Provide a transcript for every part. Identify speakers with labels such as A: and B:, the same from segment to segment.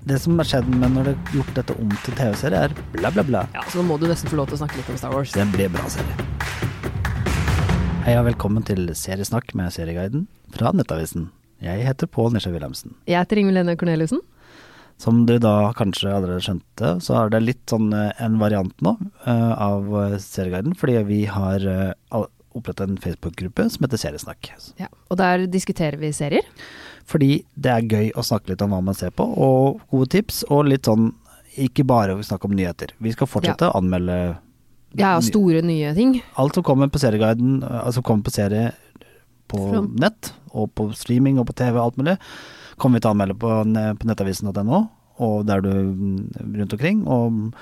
A: det som har skjedd med når det har gjort dette om til TV-serie, er bla, bla, bla.
B: Ja, Så nå må du nesten få lov til å snakke litt om Star Wars.
A: Det blir bra serie. Hei og velkommen til Seriesnakk med Serieguiden fra Nettavisen. Jeg heter Pål Nisje Wilhelmsen.
B: Jeg heter Ingvild Lene Corneliussen.
A: Som du da kanskje allerede skjønte, så er det litt sånn eh, en variant nå eh, av eh, Serieguiden, fordi vi har eh, all- opprettet en Facebook-gruppe som heter Seriesnakk.
B: Ja. Og der diskuterer vi serier.
A: Fordi det er gøy å snakke litt om hva man ser på, og gode tips, og litt sånn ikke bare å snakke om nyheter. Vi skal fortsette å anmelde
B: Ja, og store nye ting.
A: alt som kommer på Serieguiden, eh, altså kommer på serie på
B: Fra-
A: nett, og på streaming og på TV og alt mulig, kommer vi til å anmelde på, ne- på nettavisen.no, og der du mm, rundt omkring, og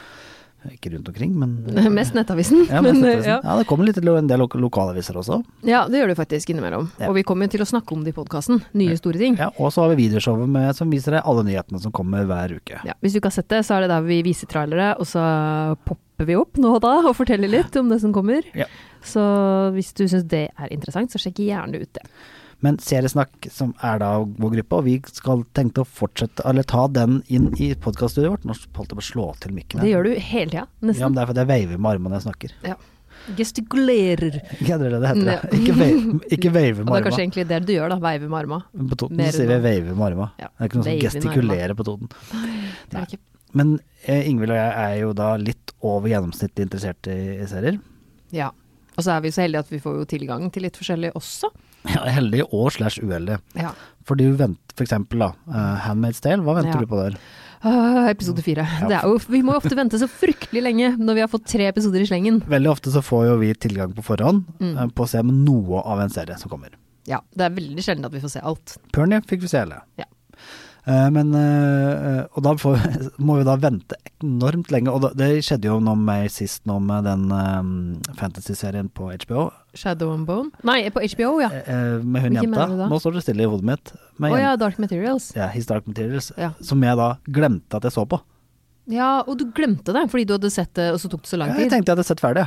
A: ikke rundt omkring, men
B: Mest Nettavisen.
A: ja,
B: men,
A: mest nettavisen.
B: ja.
A: ja. det kommer litt til en del lo- lokalaviser også.
B: ja, det gjør du faktisk innimellom.
A: Ja.
B: Og vi kommer jo til å snakke om det i podkasten. Nye, store ting.
A: Ja, og så har vi videoshowet med, som viser deg alle nyhetene som kommer hver uke.
B: Ja, hvis du ikke har sett det, så er det der vi viser trailere, og så popper vi opp nå og da og forteller litt om det som kommer.
A: Ja.
B: Så hvis du syns det er interessant, så sjekk gjerne ut det.
A: Men Seriesnakk, som er da vår gruppe, og vi skal tenkte å fortsette, eller ta den inn i podkaststudioet vårt. Nå holdt jeg på å slå til mikken.
B: Det gjør du hele tida,
A: Ja, men
B: nesten.
A: det er fordi jeg veiver med armene når jeg snakker.
B: Ja, Gestikulerer.
A: Ikke det det heter, ja.
B: Ja.
A: Ikke, vei- ikke veive med
B: Og det er
A: arma.
B: kanskje egentlig det du gjør, da. Veiver med arma.
A: På Toten
B: mer
A: så sier vi
B: nå.
A: veive med arma.
B: Ja,
A: Det er ikke noen som
B: veive med
A: gestikulerer på Toten.
B: Det er ikke
A: Men eh, Ingvild og jeg er jo da litt over gjennomsnittet interessert i, i serier.
B: Ja. Og så er vi så heldige at vi får jo tilgang til litt forskjellig også.
A: Ja, heldig og slash uheldig.
B: Ja.
A: For du venter, for eksempel da, eh, Handmaid's Tale, hva venter
B: Ja.
A: du på der?
B: Ah, episode fire. Det er jo, vi må jo ofte vente så fryktelig lenge når vi har fått tre episoder i slengen.
A: Veldig ofte så får jo vi tilgang på forhånd
B: Mm.
A: eh, på å se noe av en serie som kommer.
B: Ja, det er veldig sjelden at vi får se alt.
A: Pernie fikk vi se hele.
B: Ja.
A: Eh, Men, eh, og da får, må vi da vente enormt lenge. Og da, det skjedde jo noe med sist nå med den eh, fantasy-serien på HBO.
B: Shadow and Bone. Nei, på HBO, ja.
A: eh, Med hun
B: Ah. Hvilken
A: jenta.
B: mener du da?
A: Nå står det stille i hodet mitt.
B: Å
A: Med
B: ja,
A: jen-
B: Dark Materials.
A: ja, His Dark Materials.
B: Ja.
A: Som jeg da glemte at jeg så på.
B: Ja, og du glemte det fordi du hadde sett det, og så tok det så lang
A: Jeg
B: tid.
A: tenkte jeg hadde sett ferdig.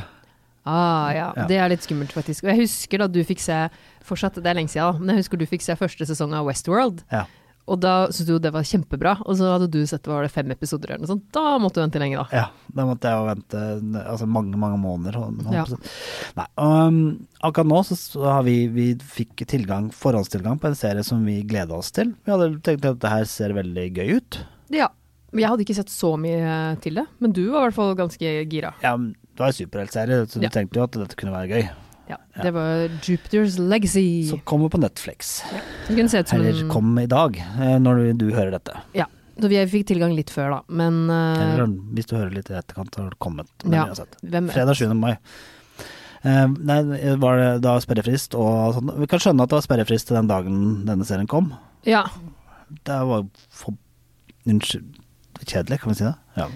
B: Ah, ja.
A: Ja.
B: Det er litt skummelt, faktisk. Og jeg husker da du fikk se Fortsatt, det er lenge siden, da, men jeg husker du fikk se første sesong av Westworld.
A: Ja.
B: Og da syntes du jo det var kjempebra, og så hadde du sett var det fem episoder eller noe sånt. Da måtte du vente lenge, da.
A: Ja, da måtte jeg jo vente altså mange, mange måneder. og- og-
B: Ja.
A: Nei, um, akkurat nå så, så har vi, vi fikk tilgang, forhåndstilgang på en serie som vi gleda oss til. Vi hadde tenkt at det her ser veldig gøy ut.
B: Ja. Jeg hadde ikke sett så mye til det, men du var i hvert fall ganske gira.
A: Ja, men det var en superheltserie, så du
B: Ja.
A: tenkte jo at dette kunne være gøy.
B: Ja. Det var Jupiter's Legacy.
A: Så kommer på Netflix.
B: Det kunne se ut som
A: Eller
B: en
A: kom i dag, eh, når du, du hører dette.
B: Ja. Så vi fikk tilgang litt før, da, men eh,
A: Eller hvis du hører litt i etterkant, så har det kommet. Men
B: ja.
A: uansett.
B: Hvem
A: Fredag 7. mai. Eh, nei, var det da sperrefrist og sånn. Vi kan skjønne at det var sperrefrist til den dagen denne serien kom.
B: Ja.
A: Det var jo for Unnskyld. Kjedelig, kan vi si det? Ja.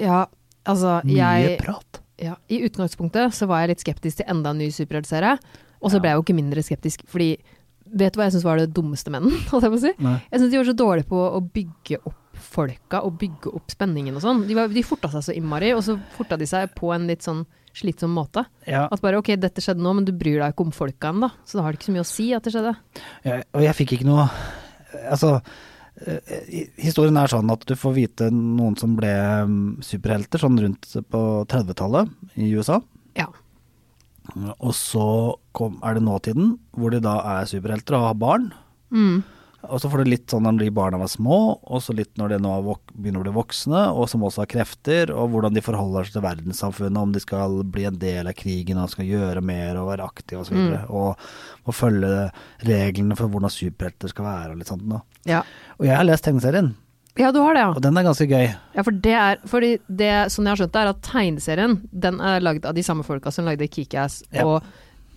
B: Ja, altså
A: Mye
B: jeg
A: prat.
B: ja, I utgangspunktet så var jeg litt skeptisk til enda en ny superheltserie. Og så
A: Ja.
B: ble jeg jo ikke mindre skeptisk, fordi vet du hva jeg syns var det dummeste med den? holdt Jeg på å si?
A: Nei.
B: Jeg syns de var så dårlige på å bygge opp folka og bygge opp spenningen og sånn. De, var- de forta seg så innmari, og så forta de seg på en litt sånn slitsom måte.
A: Ja,
B: At bare ok, dette skjedde nå, men du bryr deg ikke om folka ennå, så da har det ikke så mye å si at det skjedde.
A: jeg, og jeg fikk ikke noe Altså, eh, i- historien er sånn at du får vite noen som ble mm, superhelter sånn rundt på 30-tallet i USA.
B: Ja.
A: Og så kom, er det nåtiden, hvor de da er superhelter og har barn.
B: Mm.
A: Og så får du litt sånn når de barna var små, og så litt når de nå er vok begynner å bli voksne, og som også har krefter, og hvordan de forholder seg til verdenssamfunnet, om de skal bli en del av krigen og skal gjøre mer og være aktive osv. videre
B: Mm.
A: Og, og følge reglene for hvordan superhelter skal være og litt sånt noe.
B: ja.
A: Og jeg har lest tegneserien,
B: Ja, du har det, ja.
A: og den er ganske gøy.
B: Ja, for det er Fordi det sånn jeg har skjønt det, er at tegneserien den er lagd av de samme folka som lagde Kickass
A: Ja.
B: og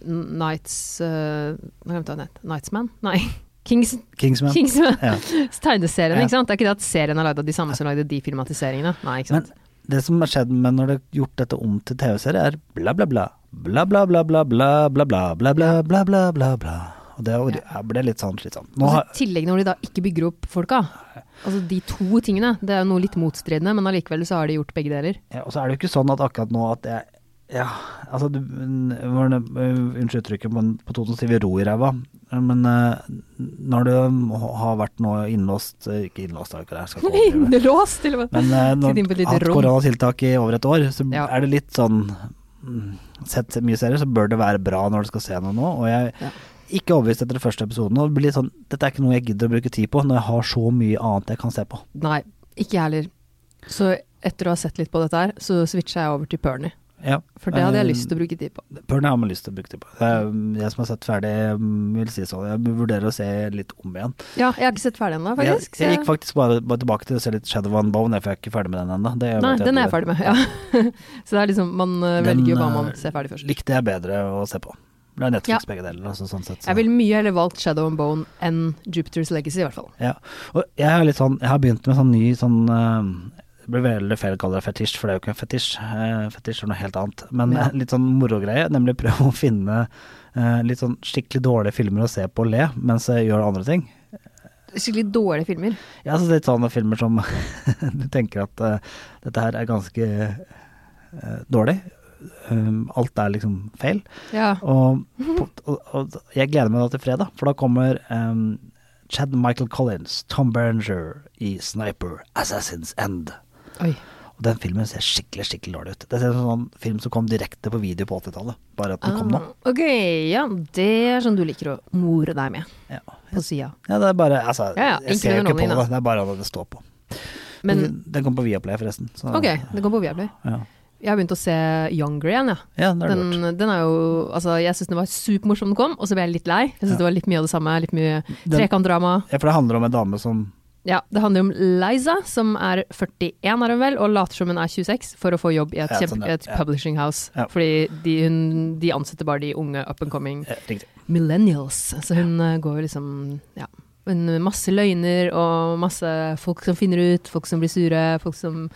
B: N- Nights uh, Nå glemte jeg nett. Knightsman? Nei. Kings,
A: Kingsman.
B: Kingsman.
A: Ja.
B: Tegneserien,
A: Ja.
B: ikke sant? Det er ikke det at serien er lagd av de samme som lagde de filmatiseringene. Nei, ikke
A: Men
B: sant.
A: det som har skjedd med når det er gjort dette om til TV-serie, er bla, bla, bla. Bla, bla, bla, bla, bla, bla, bla, bla, bla, bla, bla, bla, bla. Og det jeg ble litt sånn slitsomt. Nå
B: Og så
A: har
B: I tillegg når de da ikke bygger opp folka. Altså de to tingene. Det er jo noe litt motstridende, men allikevel så har de gjort begge deler.
A: Ja, og så er det jo ikke sånn at akkurat nå at jeg Ja, altså du, var det, Unnskyld uttrykket, men på Toten sier vi ro i ræva. Men eh, når du har vært nå innlåst eh, Ikke innlåst, er det ikke det, jeg skal ikke overdrive.
B: Lås, til og med.
A: Men eh, når
B: Sitte inn på et
A: du
B: lite
A: har hatt
B: rom.
A: koronatiltak i over et år, så
B: Ja.
A: er det litt sånn mm, Sett mye serier, så bør det være bra når du skal se noe nå. Og jeg
B: Ja.
A: ikke overbevist etter de første episodene. Og det blir litt sånn, Dette er ikke noe jeg gidder å bruke tid på når jeg har så mye annet jeg kan se på.
B: Nei, ikke jeg heller. Så etter å ha sett litt på dette her, så switcha jeg over til Pernie.
A: Ja.
B: For det hadde jeg
A: Eh,
B: lyst til å bruke tid på.
A: Burn har man lyst til å bruke tid på. Jeg, jeg som har sett ferdig, mm, vil si sånn, jeg vurderer å se litt om igjen.
B: Ja, jeg har ikke sett ferdig ennå,
A: Jeg,
B: faktisk. så
A: jeg
B: jeg-
A: gikk faktisk bare, bare tilbake til å se litt Shadow and Bone, jeg for jeg er ikke ferdig med den ennå. Det
B: Nei,
A: vet
B: den er
A: at
B: jeg ferdig med. Ja. så det er liksom, man eh,
A: Den,
B: velger jo hva
A: eh,
B: man ser ferdig først.
A: Likte jeg bedre å se på. Det er Netflix
B: Ja.
A: begge deler, altså sånn sett. så-
B: Jeg ville mye heller valgt Shadow and Bone enn Jupiter's Legacy, i hvert fall.
A: Ja. Og jeg er litt sånn, jeg har begynt med sånn ny sånn eh, Det blir veldig feil å kalle det fetisj, for det er jo ikke en fetisj. Eh, fetisj er noe helt annet. Men
B: Ja.
A: eh, litt sånn morogreie, nemlig prøve å finne eh, litt sånn skikkelig dårlige filmer å se på og le mens jeg gjør andre ting.
B: Skikkelig dårlige filmer.
A: Ja, så litt sånne filmer som du tenker at eh, dette her er ganske eh, dårlig. Um, alt er liksom feil.
B: Ja.
A: Og,
B: Mhm.
A: på- og, og jeg gleder meg da til fredag, for da kommer em, Chad Michael Collins, Tom Berenger i 'Sniper Assassin's End'.
B: Oi.
A: Og den filmen ser skikkelig skikkelig dårlig ut. Det ser ut som en sånn film som kom direkte på video på 80-tallet, bare at den kom nå.
B: Ah, ok, ja. Det er sånn du liker å more deg med
A: Ja.
B: på sida.
A: ja, det er bare Altså,
B: Ja, ja,
A: jeg
B: ikke
A: ser jo ikke på
B: underholdning,
A: det,
B: altså.
A: det er bare hva det står på.
B: Men
A: den, den kom på Viaplay, forresten. Så,
B: ok, det går på Viaplay.
A: Ja.
B: Jeg har begynt å se Younger igjen, ja.
A: ja, det er lurt.
B: Den, den er jo Altså, jeg syns den var supermorsom da den kom, og så ble jeg litt lei. Jeg syns
A: Ja.
B: det var litt mye av det samme. Litt mye
A: Den-
B: trekantdrama.
A: Ja, for det handler om en dame som
B: Ja, det handler om Liza, som er 41 er hun vel, og later som hun er 26 for å få jobb i et,
A: Ja,
B: kjempe,
A: sånn, ja.
B: et
A: Ja.
B: publishing house.
A: Ja.
B: Fordi de, hun, de ansetter bare de unge up and coming
A: eh, Riktig.
B: millennials. Så hun eh, går jo liksom ja. Men masse løgner og masse folk som finner ut, folk som blir sure, folk som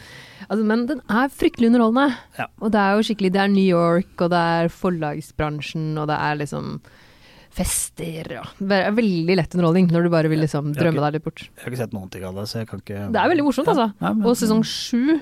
B: altså, Men den er fryktelig underholdende.
A: Ja.
B: Og det er jo skikkelig Det er New York, og det er forlagsbransjen, og det er liksom fester og Det er veldig lett underholdning når du bare vil liksom
A: Ja, ok.
B: drømme deg litt bort.
A: Jeg har ikke sett noen ting av det, så jeg kan ikke
B: Det er veldig morsomt, altså.
A: Nei, men-
B: Og sesong sju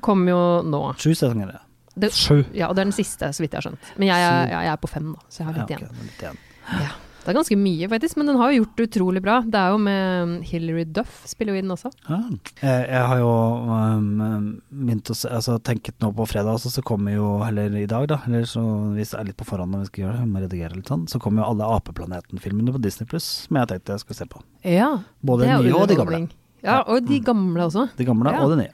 B: kommer jo nå.
A: Sju sesonger, ja.
B: Det,
A: Sju.
B: ja, og det er den siste, så vidt jeg har skjønt. Men jeg, er- ja, jeg er på fem, da, så jeg har
A: Ja,
B: litt
A: ok,
B: igjen.
A: litt igjen.
B: Ja. Det er ganske mye, faktisk, men den har jo gjort det utrolig bra. Det er jo med um, Hilary Duff, spiller jo i den også.
A: Ja. Jeg, jeg har jo um, begynt å se, altså, tenket nå på fredag også, så kommer jo, eller i dag da, eller så hvis det er litt på forhånd når vi skal gjøre det, vi må redigere litt sånn, så kommer jo alle Apeplaneten-filmene på Disney+, som jeg tenkte jeg skulle se på.
B: Ja,
A: Både de nye og de gamle. Mm.
B: Ja, og de gamle også.
A: De gamle
B: Ja.
A: og de nye.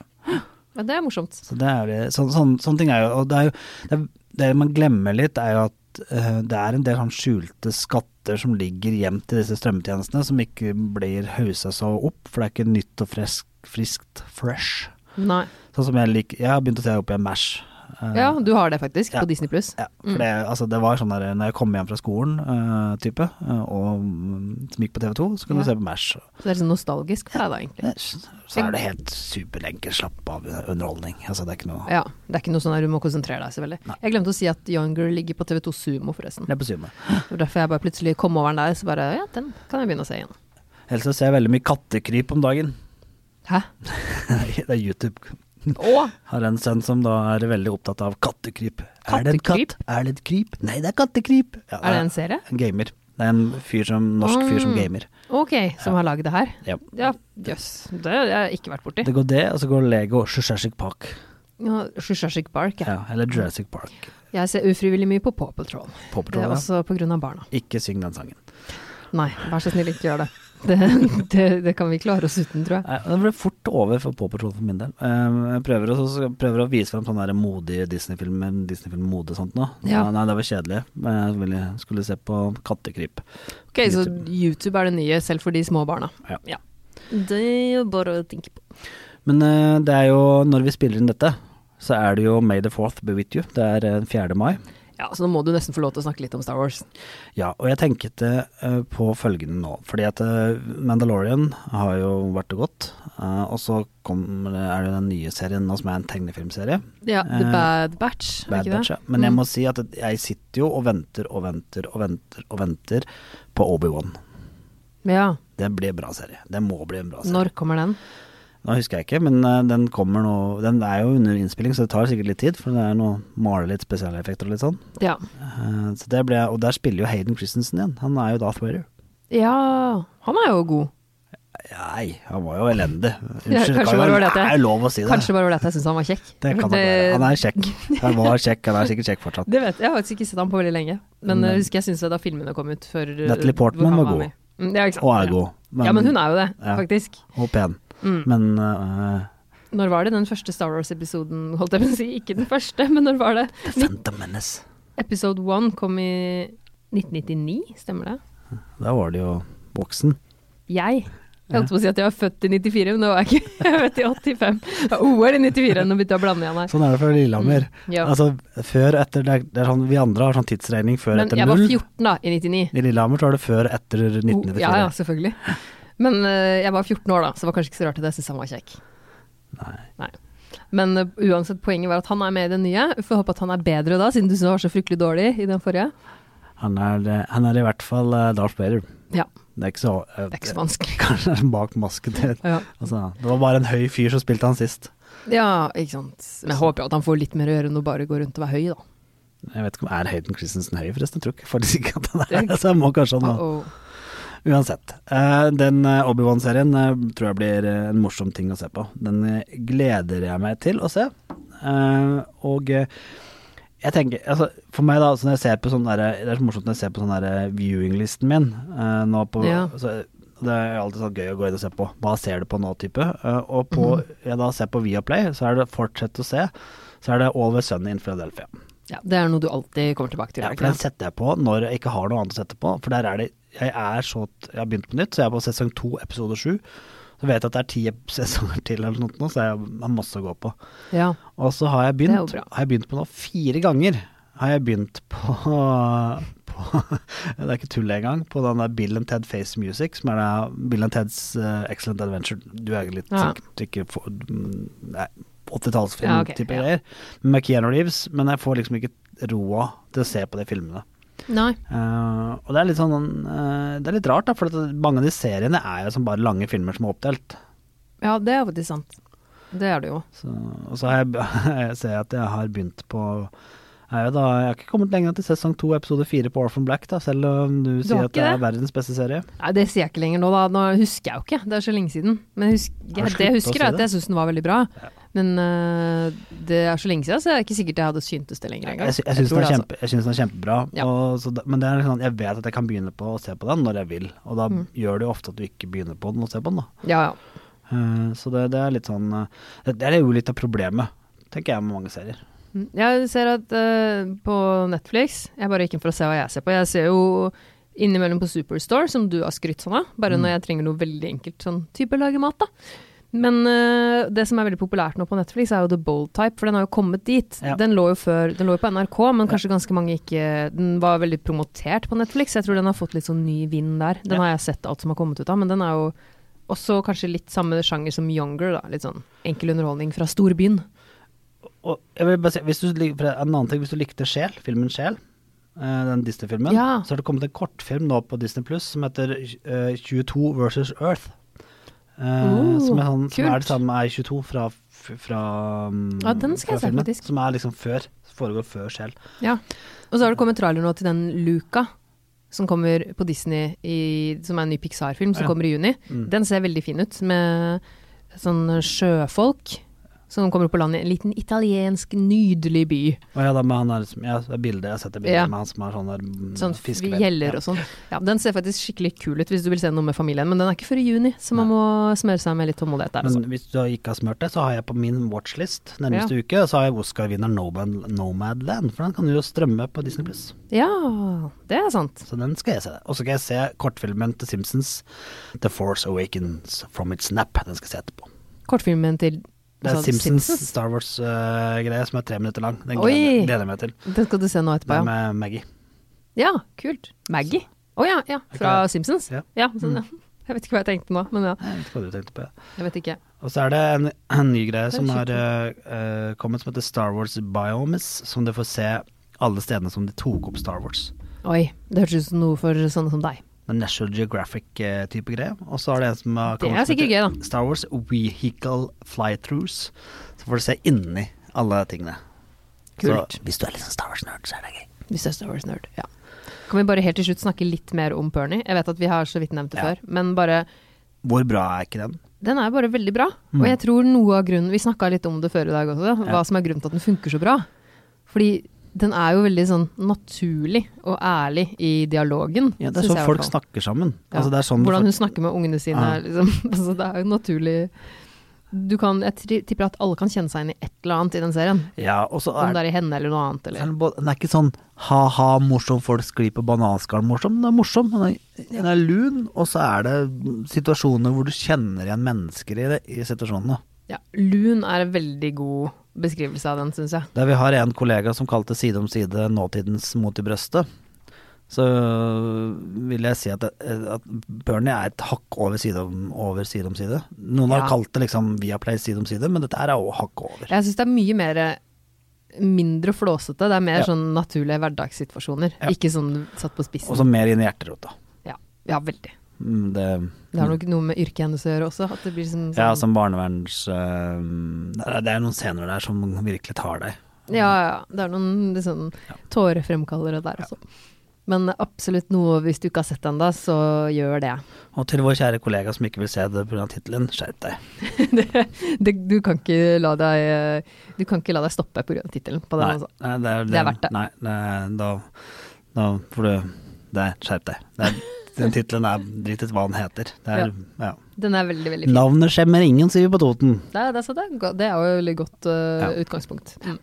B: Ja, det er morsomt.
A: Så det er, jo- sånn- sånn- sånne ting er jo Og det, er jo, det, er, det man glemmer litt, er jo at eh, det er en del sånn skjulte skatter som ligger gjemt i disse strømmetjenestene, som ikke blir hausa så opp, for det er ikke nytt og fresk, friskt fresh.
B: Nei.
A: Sånn som jeg liker Jeg har begynt å se opp igjen MASH. eh,
B: Ja, Mm. du har det faktisk,
A: Ja.
B: på Disney pluss.
A: ja, for det, altså, det var sånn der når jeg kom hjem fra skolen, eh, type, eh, og mm, som gikk på TV 2, så kunne
B: Ja.
A: du se på MASH.
B: Så det er sånn nostalgisk for deg, da, egentlig.
A: Så er det helt superlenker, slapp av underholdning. Altså, det er ikke noe
B: Ja, Det er ikke noe sånn der du må konsentrere deg, selvfølgelig.
A: Nei.
B: Jeg glemte å si at Younger ligger på TV2 Sumo, forresten.
A: Det er på syvende.
B: Det var derfor jeg bare plutselig kom over den der, så bare ja, den kan jeg begynne å se igjen.
A: Ellers så ser jeg veldig mye kattekryp om dagen.
B: Hæ?
A: det er YouTube.
B: Å!
A: Har en sønn som da er veldig opptatt av kattekryp. Er det en katt?
B: Kattekryp?
A: Er det et kryp? Nei, det er kattekryp. Ja,
B: Er det en serie?
A: En gamer. Det er en fyr som, norsk fyr som
B: Mm.
A: gamer.
B: Ok, som har lagd det her?
A: Ja.
B: Ja, jøss. Det har jeg ikke vært borti.
A: Det går det, og så går Lego Jurassic Park.
B: Ja, Jurassic Park, ja.
A: Ja, eller Jurassic Park.
B: Jeg ser ufrivillig mye på Paw Patrol.
A: Paw
B: Det
A: Patrol,
B: er
A: ja.
B: også pga. barna.
A: Ikke syng den sangen.
B: Nei, vær så snill, ikke gjør det. Det, det, det kan vi klare oss uten, tror jeg.
A: Nei, Det ble fort over for Paw Patrol for min del. Eh, Jeg prøver, å- så- prøver å vise frem sånne der modige Disney-filmer, Disney-film-mode og sånt nå.
B: Ja.
A: Nei, Nei, det var kjedelig. Jeg ville- skulle se på kattekryp.
B: Ok, Så YouTube er det nye, selv for de små barna.
A: Ja.
B: Det er jo bare å tenke på.
A: Men eh, det er jo, når vi spiller inn dette, så er det jo May the 4th be with you. Det er eh, 4. mai.
B: Ja, Så nå må du nesten få lov til å snakke litt om Star Wars.
A: Ja, og jeg tenkte eh, på følgende nå. Fordi at eh, Mandalorian har jo vært og gått. eh, og så kommer, det- er det den nye serien nå som er en tegnefilmserie.
B: Ja, The
A: Eh,
B: Bad Batch, er
A: Bad
B: det ikke
A: Batch.
B: det?
A: ja. Men jeg
B: Mm.
A: må si at jeg sitter jo og venter og venter og venter og venter på Obi-Wan.
B: Ja,
A: Det blir en bra serie. Det må bli en bra serie.
B: Når kommer den?
A: Nå husker jeg ikke, men eh, den kommer nå Den er jo under innspilling, så det tar sikkert litt tid, for det er noe male litt spesialeffekter og litt sånn.
B: Ja.
A: Eh, Så det ble, og der spiller jo Hayden Christensen igjen. Han er jo Darth Vader.
B: ja, han er jo god.
A: Nei, han var jo elendig.
B: Ja,
A: Unnskyld, kan
B: kanskje bare
A: jo-
B: var det at jeg-
A: er jo lov å si det.
B: Kanskje bare var det at jeg syns han var kjekk.
A: Det kan nok være. Han er kjekk. Han var kjekk, han er sikkert kjekk fortsatt.
B: Det vet jeg, jeg har faktisk ikke sett ham på veldig lenge. Men
A: Men-
B: jeg husker jeg syntes det da filmene kom ut. eh, For,
A: Natalie Portman var god.
B: Mm, Ja, ikke sant?
A: Og er god.
B: Ja. ja, men hun er jo det,
A: Ja.
B: faktisk.
A: Og pen.
B: Mm.
A: Men eh,
B: Når var det den første Star Wars-episoden, holdt jeg på å si? Ikke den første, men når var det?
A: The Phantom Menace
B: Episode one kom i 1999, stemmer det?
A: Da var det jo voksen.
B: Jeg. Jeg holdt på å si at jeg var født i 94, men det var jeg ikke. Jeg er født i 85. Det var OL i 94, nå begynte jeg å blande igjen her.
A: Sånn er det fra Lillehammer.
B: Mm, Ja.
A: Altså, før etter det er, det er sånn, Vi andre har sånn tidsregning før
B: Men
A: etter
B: jeg var
A: null.
B: 14 da, i 99.
A: I Lillehammer så var det før etter 1994.
B: Ja, ja, selvfølgelig. Men eh, jeg var 14 år da, så det var kanskje ikke så rart at jeg syntes han var kjekk.
A: Nei.
B: Men eh, uansett, poenget var at han er med i den nye. Vi får håpe at han er bedre da, siden du syntes han var så fryktelig dårlig i den forrige.
A: Han, er, eh, han er i hvert fall eh, Darth Vader.
B: Ja.
A: Det er ikke så, eh,
B: Det er ikke så vanskelig.
A: Kanskje det er bak masken til
B: Ja,
A: altså, Det var bare en høy fyr som spilte han sist.
B: ja ikke sant. Men jeg håper jo at han får litt mer å gjøre enn å bare gå rundt og være høy, da.
A: Jeg vet ikke om Er Hayden Christensen høy, forresten? Jeg tror ikke- faktisk ikke at han er
B: Det-
A: det, så jeg må kanskje han
B: Uh -oh.
A: Uansett. eh, Den eh, Obi-Wan-serien eh, tror jeg blir eh, en morsom ting å se på. Den eh, gleder jeg meg til å se. Eh, Og eh, jeg tenker, altså for meg da, så når jeg ser på sånn der, det er så morsomt når jeg ser på sånn der viewing-listen min eh, nå på,
B: Ja.
A: så, det er alltid sånn gøy å gå inn og se på. Hva ser du på nå, type? Eh, og på, jeg da ser på Viaplay, så er det fortsett å se, så er det Always Sunny in Philadelphia.
B: Ja, det er noe du alltid kommer tilbake til.
A: Ja,
B: er det
A: for den
B: ikke det?
A: setter jeg på når jeg ikke har noe annet å sette på. For der er det Jeg er så Jeg har begynt på nytt, så jeg er på sesong to, episode sju. Så vet jeg at det er ti ep- sesonger til eller noe sånt nå, så jeg har masse å gå på.
B: Ja.
A: Og så har jeg
B: Det er jo
A: begynt,
B: bra.
A: har jeg begynt på nå fire ganger. Har jeg begynt på, på Det er ikke tull engang. På den der Bill and Ted Face Music, som er da Bill and Teds eh, Excellent Adventure. Du er litt
B: Ja.
A: sikkert ikke for, mm, Nei, 80-tallsfilm-type
B: Ja, ok, ja.
A: greier. Med Keanu Reeves, men jeg får liksom ikke roa til å se på de filmene.
B: Nei.
A: Eh, og det er litt sånn eh, Det er litt rart, da, for at mange av de seriene er jo som bare lange filmer som er oppdelt.
B: Ja, det er faktisk sant. Det er det jo.
A: Så, og så har jeg, jeg ser jeg at jeg har begynt på er jo da, Jeg har ikke kommet lenger enn til sesong to, episode fire på Orphan Black, da, selv om du, sier
B: har
A: at det er
B: ikke
A: verdens beste serie.
B: Nei, det sier jeg ikke lenger nå, da. Nå husker jeg jo ikke, det er så lenge siden. Men jeg husker,
A: Har du
B: det jeg
A: sluttet å
B: husker,
A: se
B: er
A: det?
B: at jeg syns den var veldig bra. Men øh, det er så lenge siden, så det er ikke sikkert jeg hadde syntes det lenger engang.
A: Jeg, sy- jeg syns
B: tror
A: den, er
B: det, altså.
A: kjempe, jeg synes den er kjempebra,
B: Ja.
A: og så, da- men det er sånn, jeg vet at jeg kan begynne på å se på den når jeg vil. Og da
B: Mm.
A: gjør det jo ofte at du ikke begynner på den og ser på den, da.
B: Altså. Ja, ja.
A: Eh, så det, det er litt sånn eh, Det det er jo litt av problemet, tenker jeg, med mange serier.
B: Mm. Jeg ser at øh, på Netflix Jeg bare gikk inn for å se hva jeg ser på. Jeg ser jo innimellom på Superstore, som du har skrytt sånn av. Bare
A: Mm.
B: når jeg trenger noe veldig enkelt, sånn type lage mat, da. Men øh, det som er veldig populært nå på Netflix, er jo The Bold Type, for den har jo kommet dit.
A: Ja.
B: Den lå jo før, den lå jo på NRK, men kanskje ganske mange ikke Den var veldig promotert på Netflix, jeg tror den har fått litt sånn ny vind der. Den
A: Ja.
B: har jeg sett alt som har kommet ut av, men den er jo også kanskje litt samme sjanger som Younger, da. Litt sånn enkel underholdning fra storbyen.
A: Og jeg vil bare si, hvis du, lik- for en annen ting, hvis du likte Sjel, filmen Sjel, eh, den Disney-filmen,
B: Ja.
A: så har det kommet en kortfilm nå på Disney Pluss som heter eh, 22 versus Earth. Eh,
B: Oh,
A: som, er sånn, som
B: kult.
A: er det samme med I22 fra, f- fra, mm,
B: Ja, den skal jeg se, faktisk.
A: Som er liksom før. Foregår før Sjel.
B: Ja. Og så har det kommet trailer nå til den Luca, som kommer på Disney, i, som er en ny Pixar-film som
A: Ja.
B: kommer i juni.
A: Mm.
B: Den ser veldig fin ut, med sånn sjøfolk som kommer på land i en liten italiensk, nydelig by.
A: Og ja, da med han der som ja, det er bilder, Jeg har sett det bildet
B: Ja.
A: med han som har sånn der mm,
B: Sånn
A: fiskevær.
B: gjeller og sånn. Ja, den ser faktisk skikkelig kul ut hvis du vil se noe med familien, men den er ikke før i juni, så man må smøre seg med litt tålmodighet der. Altså.
A: Men hvis du ikke har smurt det, så har jeg på min watchlist nærmeste
B: Ja.
A: uke, så har jeg Oscar-vinneren Nomad- Nomadland, for den kan du jo strømme på Disney Pluss.
B: Ja, det er sant.
A: Så den skal jeg se. Og så skal jeg se kortfilmen til Simpsons, The Force Awakens From Its Nap. Den skal jeg se etterpå.
B: Kortfilmen til
A: Det er
B: altså,
A: Simpsons, Star Wars-greie som er tre minutter lang. Den
B: Oi!
A: gleder, gleder jeg meg til.
B: Den skal du se nå etterpå,
A: Den
B: ja.
A: med Maggie.
B: Ja, kult. Maggie. Å ja, ja. Fra Simpsons?
A: Ja.
B: Ja. sånn, ja. Jeg vet ikke hva jeg tenkte nå, men ja.
A: Jeg vet ikke hva du tenkte på. ja.
B: Jeg vet ikke.
A: Og så er det en, en ny greie
B: Det er
A: som har eh, eh, kommet, som heter Star Wars Biomes, som du får se alle stedene som de tok opp Star Wars.
B: Oi, det hørtes ut som noe for sånne som deg.
A: den National Geographic-type greie. Og så er det en som har
B: Det
A: kommet
B: er
A: som
B: sikkert
A: heter
B: gøy, da.
A: Star Wars Vehicle Flythroughs. Så får du se inni alle tingene.
B: Kult.
A: Så hvis du er litt sånn Star Wars-nerd, så er det gøy.
B: Hvis det er Star Wars-nerd. Ja. Kan vi bare helt til slutt snakke litt mer om Pernie? Jeg vet at vi har så vidt nevnt det
A: Ja.
B: før, men bare
A: Hvor bra er ikke den?
B: Den er bare veldig bra. Og jeg tror noe av grunnen Vi snakka litt om det før i dag også, hva
A: Mm. Ja.
B: som er grunnen til at den funker så bra. Fordi den er jo veldig sånn naturlig og ærlig i dialogen.
A: Ja, det
B: synes
A: er sånn
B: jeg i
A: folk
B: hvert fall.
A: snakker sammen.
B: Ja.
A: Altså, det er sånn
B: Hvordan hun snakker med ungene sine.
A: Ja.
B: er Liksom. Altså, det er jo naturlig du kan, Jeg tri- tipper at alle kan kjenne seg inn i et eller annet i den serien.
A: ja, og så
B: Om
A: er,
B: det er i henne eller noe annet.
A: er
B: Eller.
A: den, både- den er ikke sånn ha-ha, morsom, folk sklir på bananskallen, morsom. Den er morsom, den er, den er lun, og så er det situasjoner hvor du kjenner igjen mennesker i, det, i situasjonene.
B: Ja, Lun er en veldig god beskrivelse av den, syns jeg.
A: Der vi har en kollega som kalte Side om side nåtidens mot i brøstet, så vil jeg si at, at Bernie er et hakk over side om, over side, om side. Noen har
B: Ja.
A: kalt det liksom Viaplay side om side, men dette her er også hakk over.
B: Jeg syns det er mye mer eh, mindre flåsete. Det er mer
A: Ja.
B: sånn naturlige hverdagssituasjoner.
A: Ja.
B: Ikke sånn satt på spissen.
A: Og så mer inn i hjerterota.
B: ja. ja, veldig.
A: Mm, Det,
B: Det har nok noe med yrket hennes å gjøre også. At det blir sånn, sånn,
A: ja, som barneverns... eh, det er- det er noen scener der som virkelig tar deg.
B: ja, ja. Det er noen litt sånn tårefremkallere der også. Men absolutt noe, hvis du ikke har sett den da, så gjør det.
A: Og til vår kjære kollega som ikke vil se det pga. tittelen, skjerp deg.
B: det du, kan ikke la deg, eh, du kan ikke la deg stoppe pga. tittelen på den.
A: Nei,
B: Altså.
A: nei, det, er,
B: Det er verdt det.
A: Nei, det er- da, da får du Der, skjerp deg. Det er, den tittelen er drit i hva den heter. Det er, ja.
B: Den er veldig, veldig fin.
A: Navnet skjemmer ingen, sier vi på Toten.
B: Det, er- det, er så det, er go- det er jo et veldig godt eh,
A: Ja.
B: utgangspunkt. Mm.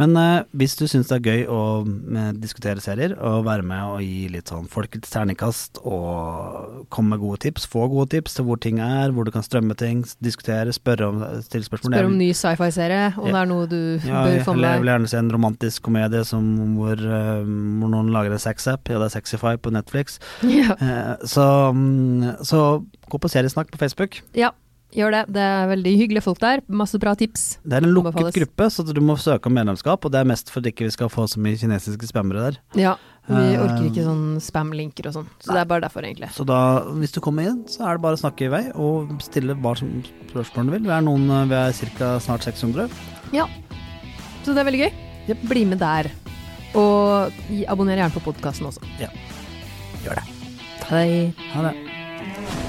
A: Men eh, hvis du syns det er gøy å eh, diskutere serier, og være med og gi litt sånn folkets terningkast, og komme med gode tips, få gode tips til hvor ting er, hvor du kan strømme ting, s- diskutere, spørre om, eh, stille spørsmål
B: Spør om ny sci-fi-serie, om
A: Ja.
B: det er noe du
A: ja,
B: bør
A: jeg,
B: få
A: eller jeg
B: med
A: vil
B: deg.
A: gjerne se en romantisk komedie som, hvor, eh, hvor noen lager en sexapp. Ja, det er Sexify på Netflix.
B: Ja.
A: Eh, så, mm, så gå på Seriesnakk på Facebook.
B: ja, gjør det. Det er veldig hyggelige folk der. Masse bra tips.
A: Det er en lukket
B: Anbefales.
A: gruppe, så du må søke om medlemskap. Og det er mest for at ikke vi skal få så mye kinesiske spammere der.
B: Ja, vi
A: Eh,
B: orker ikke sånn spam-linker og sånn. Så det er bare derfor, egentlig.
A: Så da, hvis du kommer inn, så er det bare å snakke i vei og stille hva som spørsmål du vil. Vi er noen, eh, vi er ca. snart 600.
B: Ja. Så det er veldig gøy. Bli med der. Og gi- abonner gjerne på podkasten også.
A: Ja, gjør det.
B: Hei.
A: Ha det.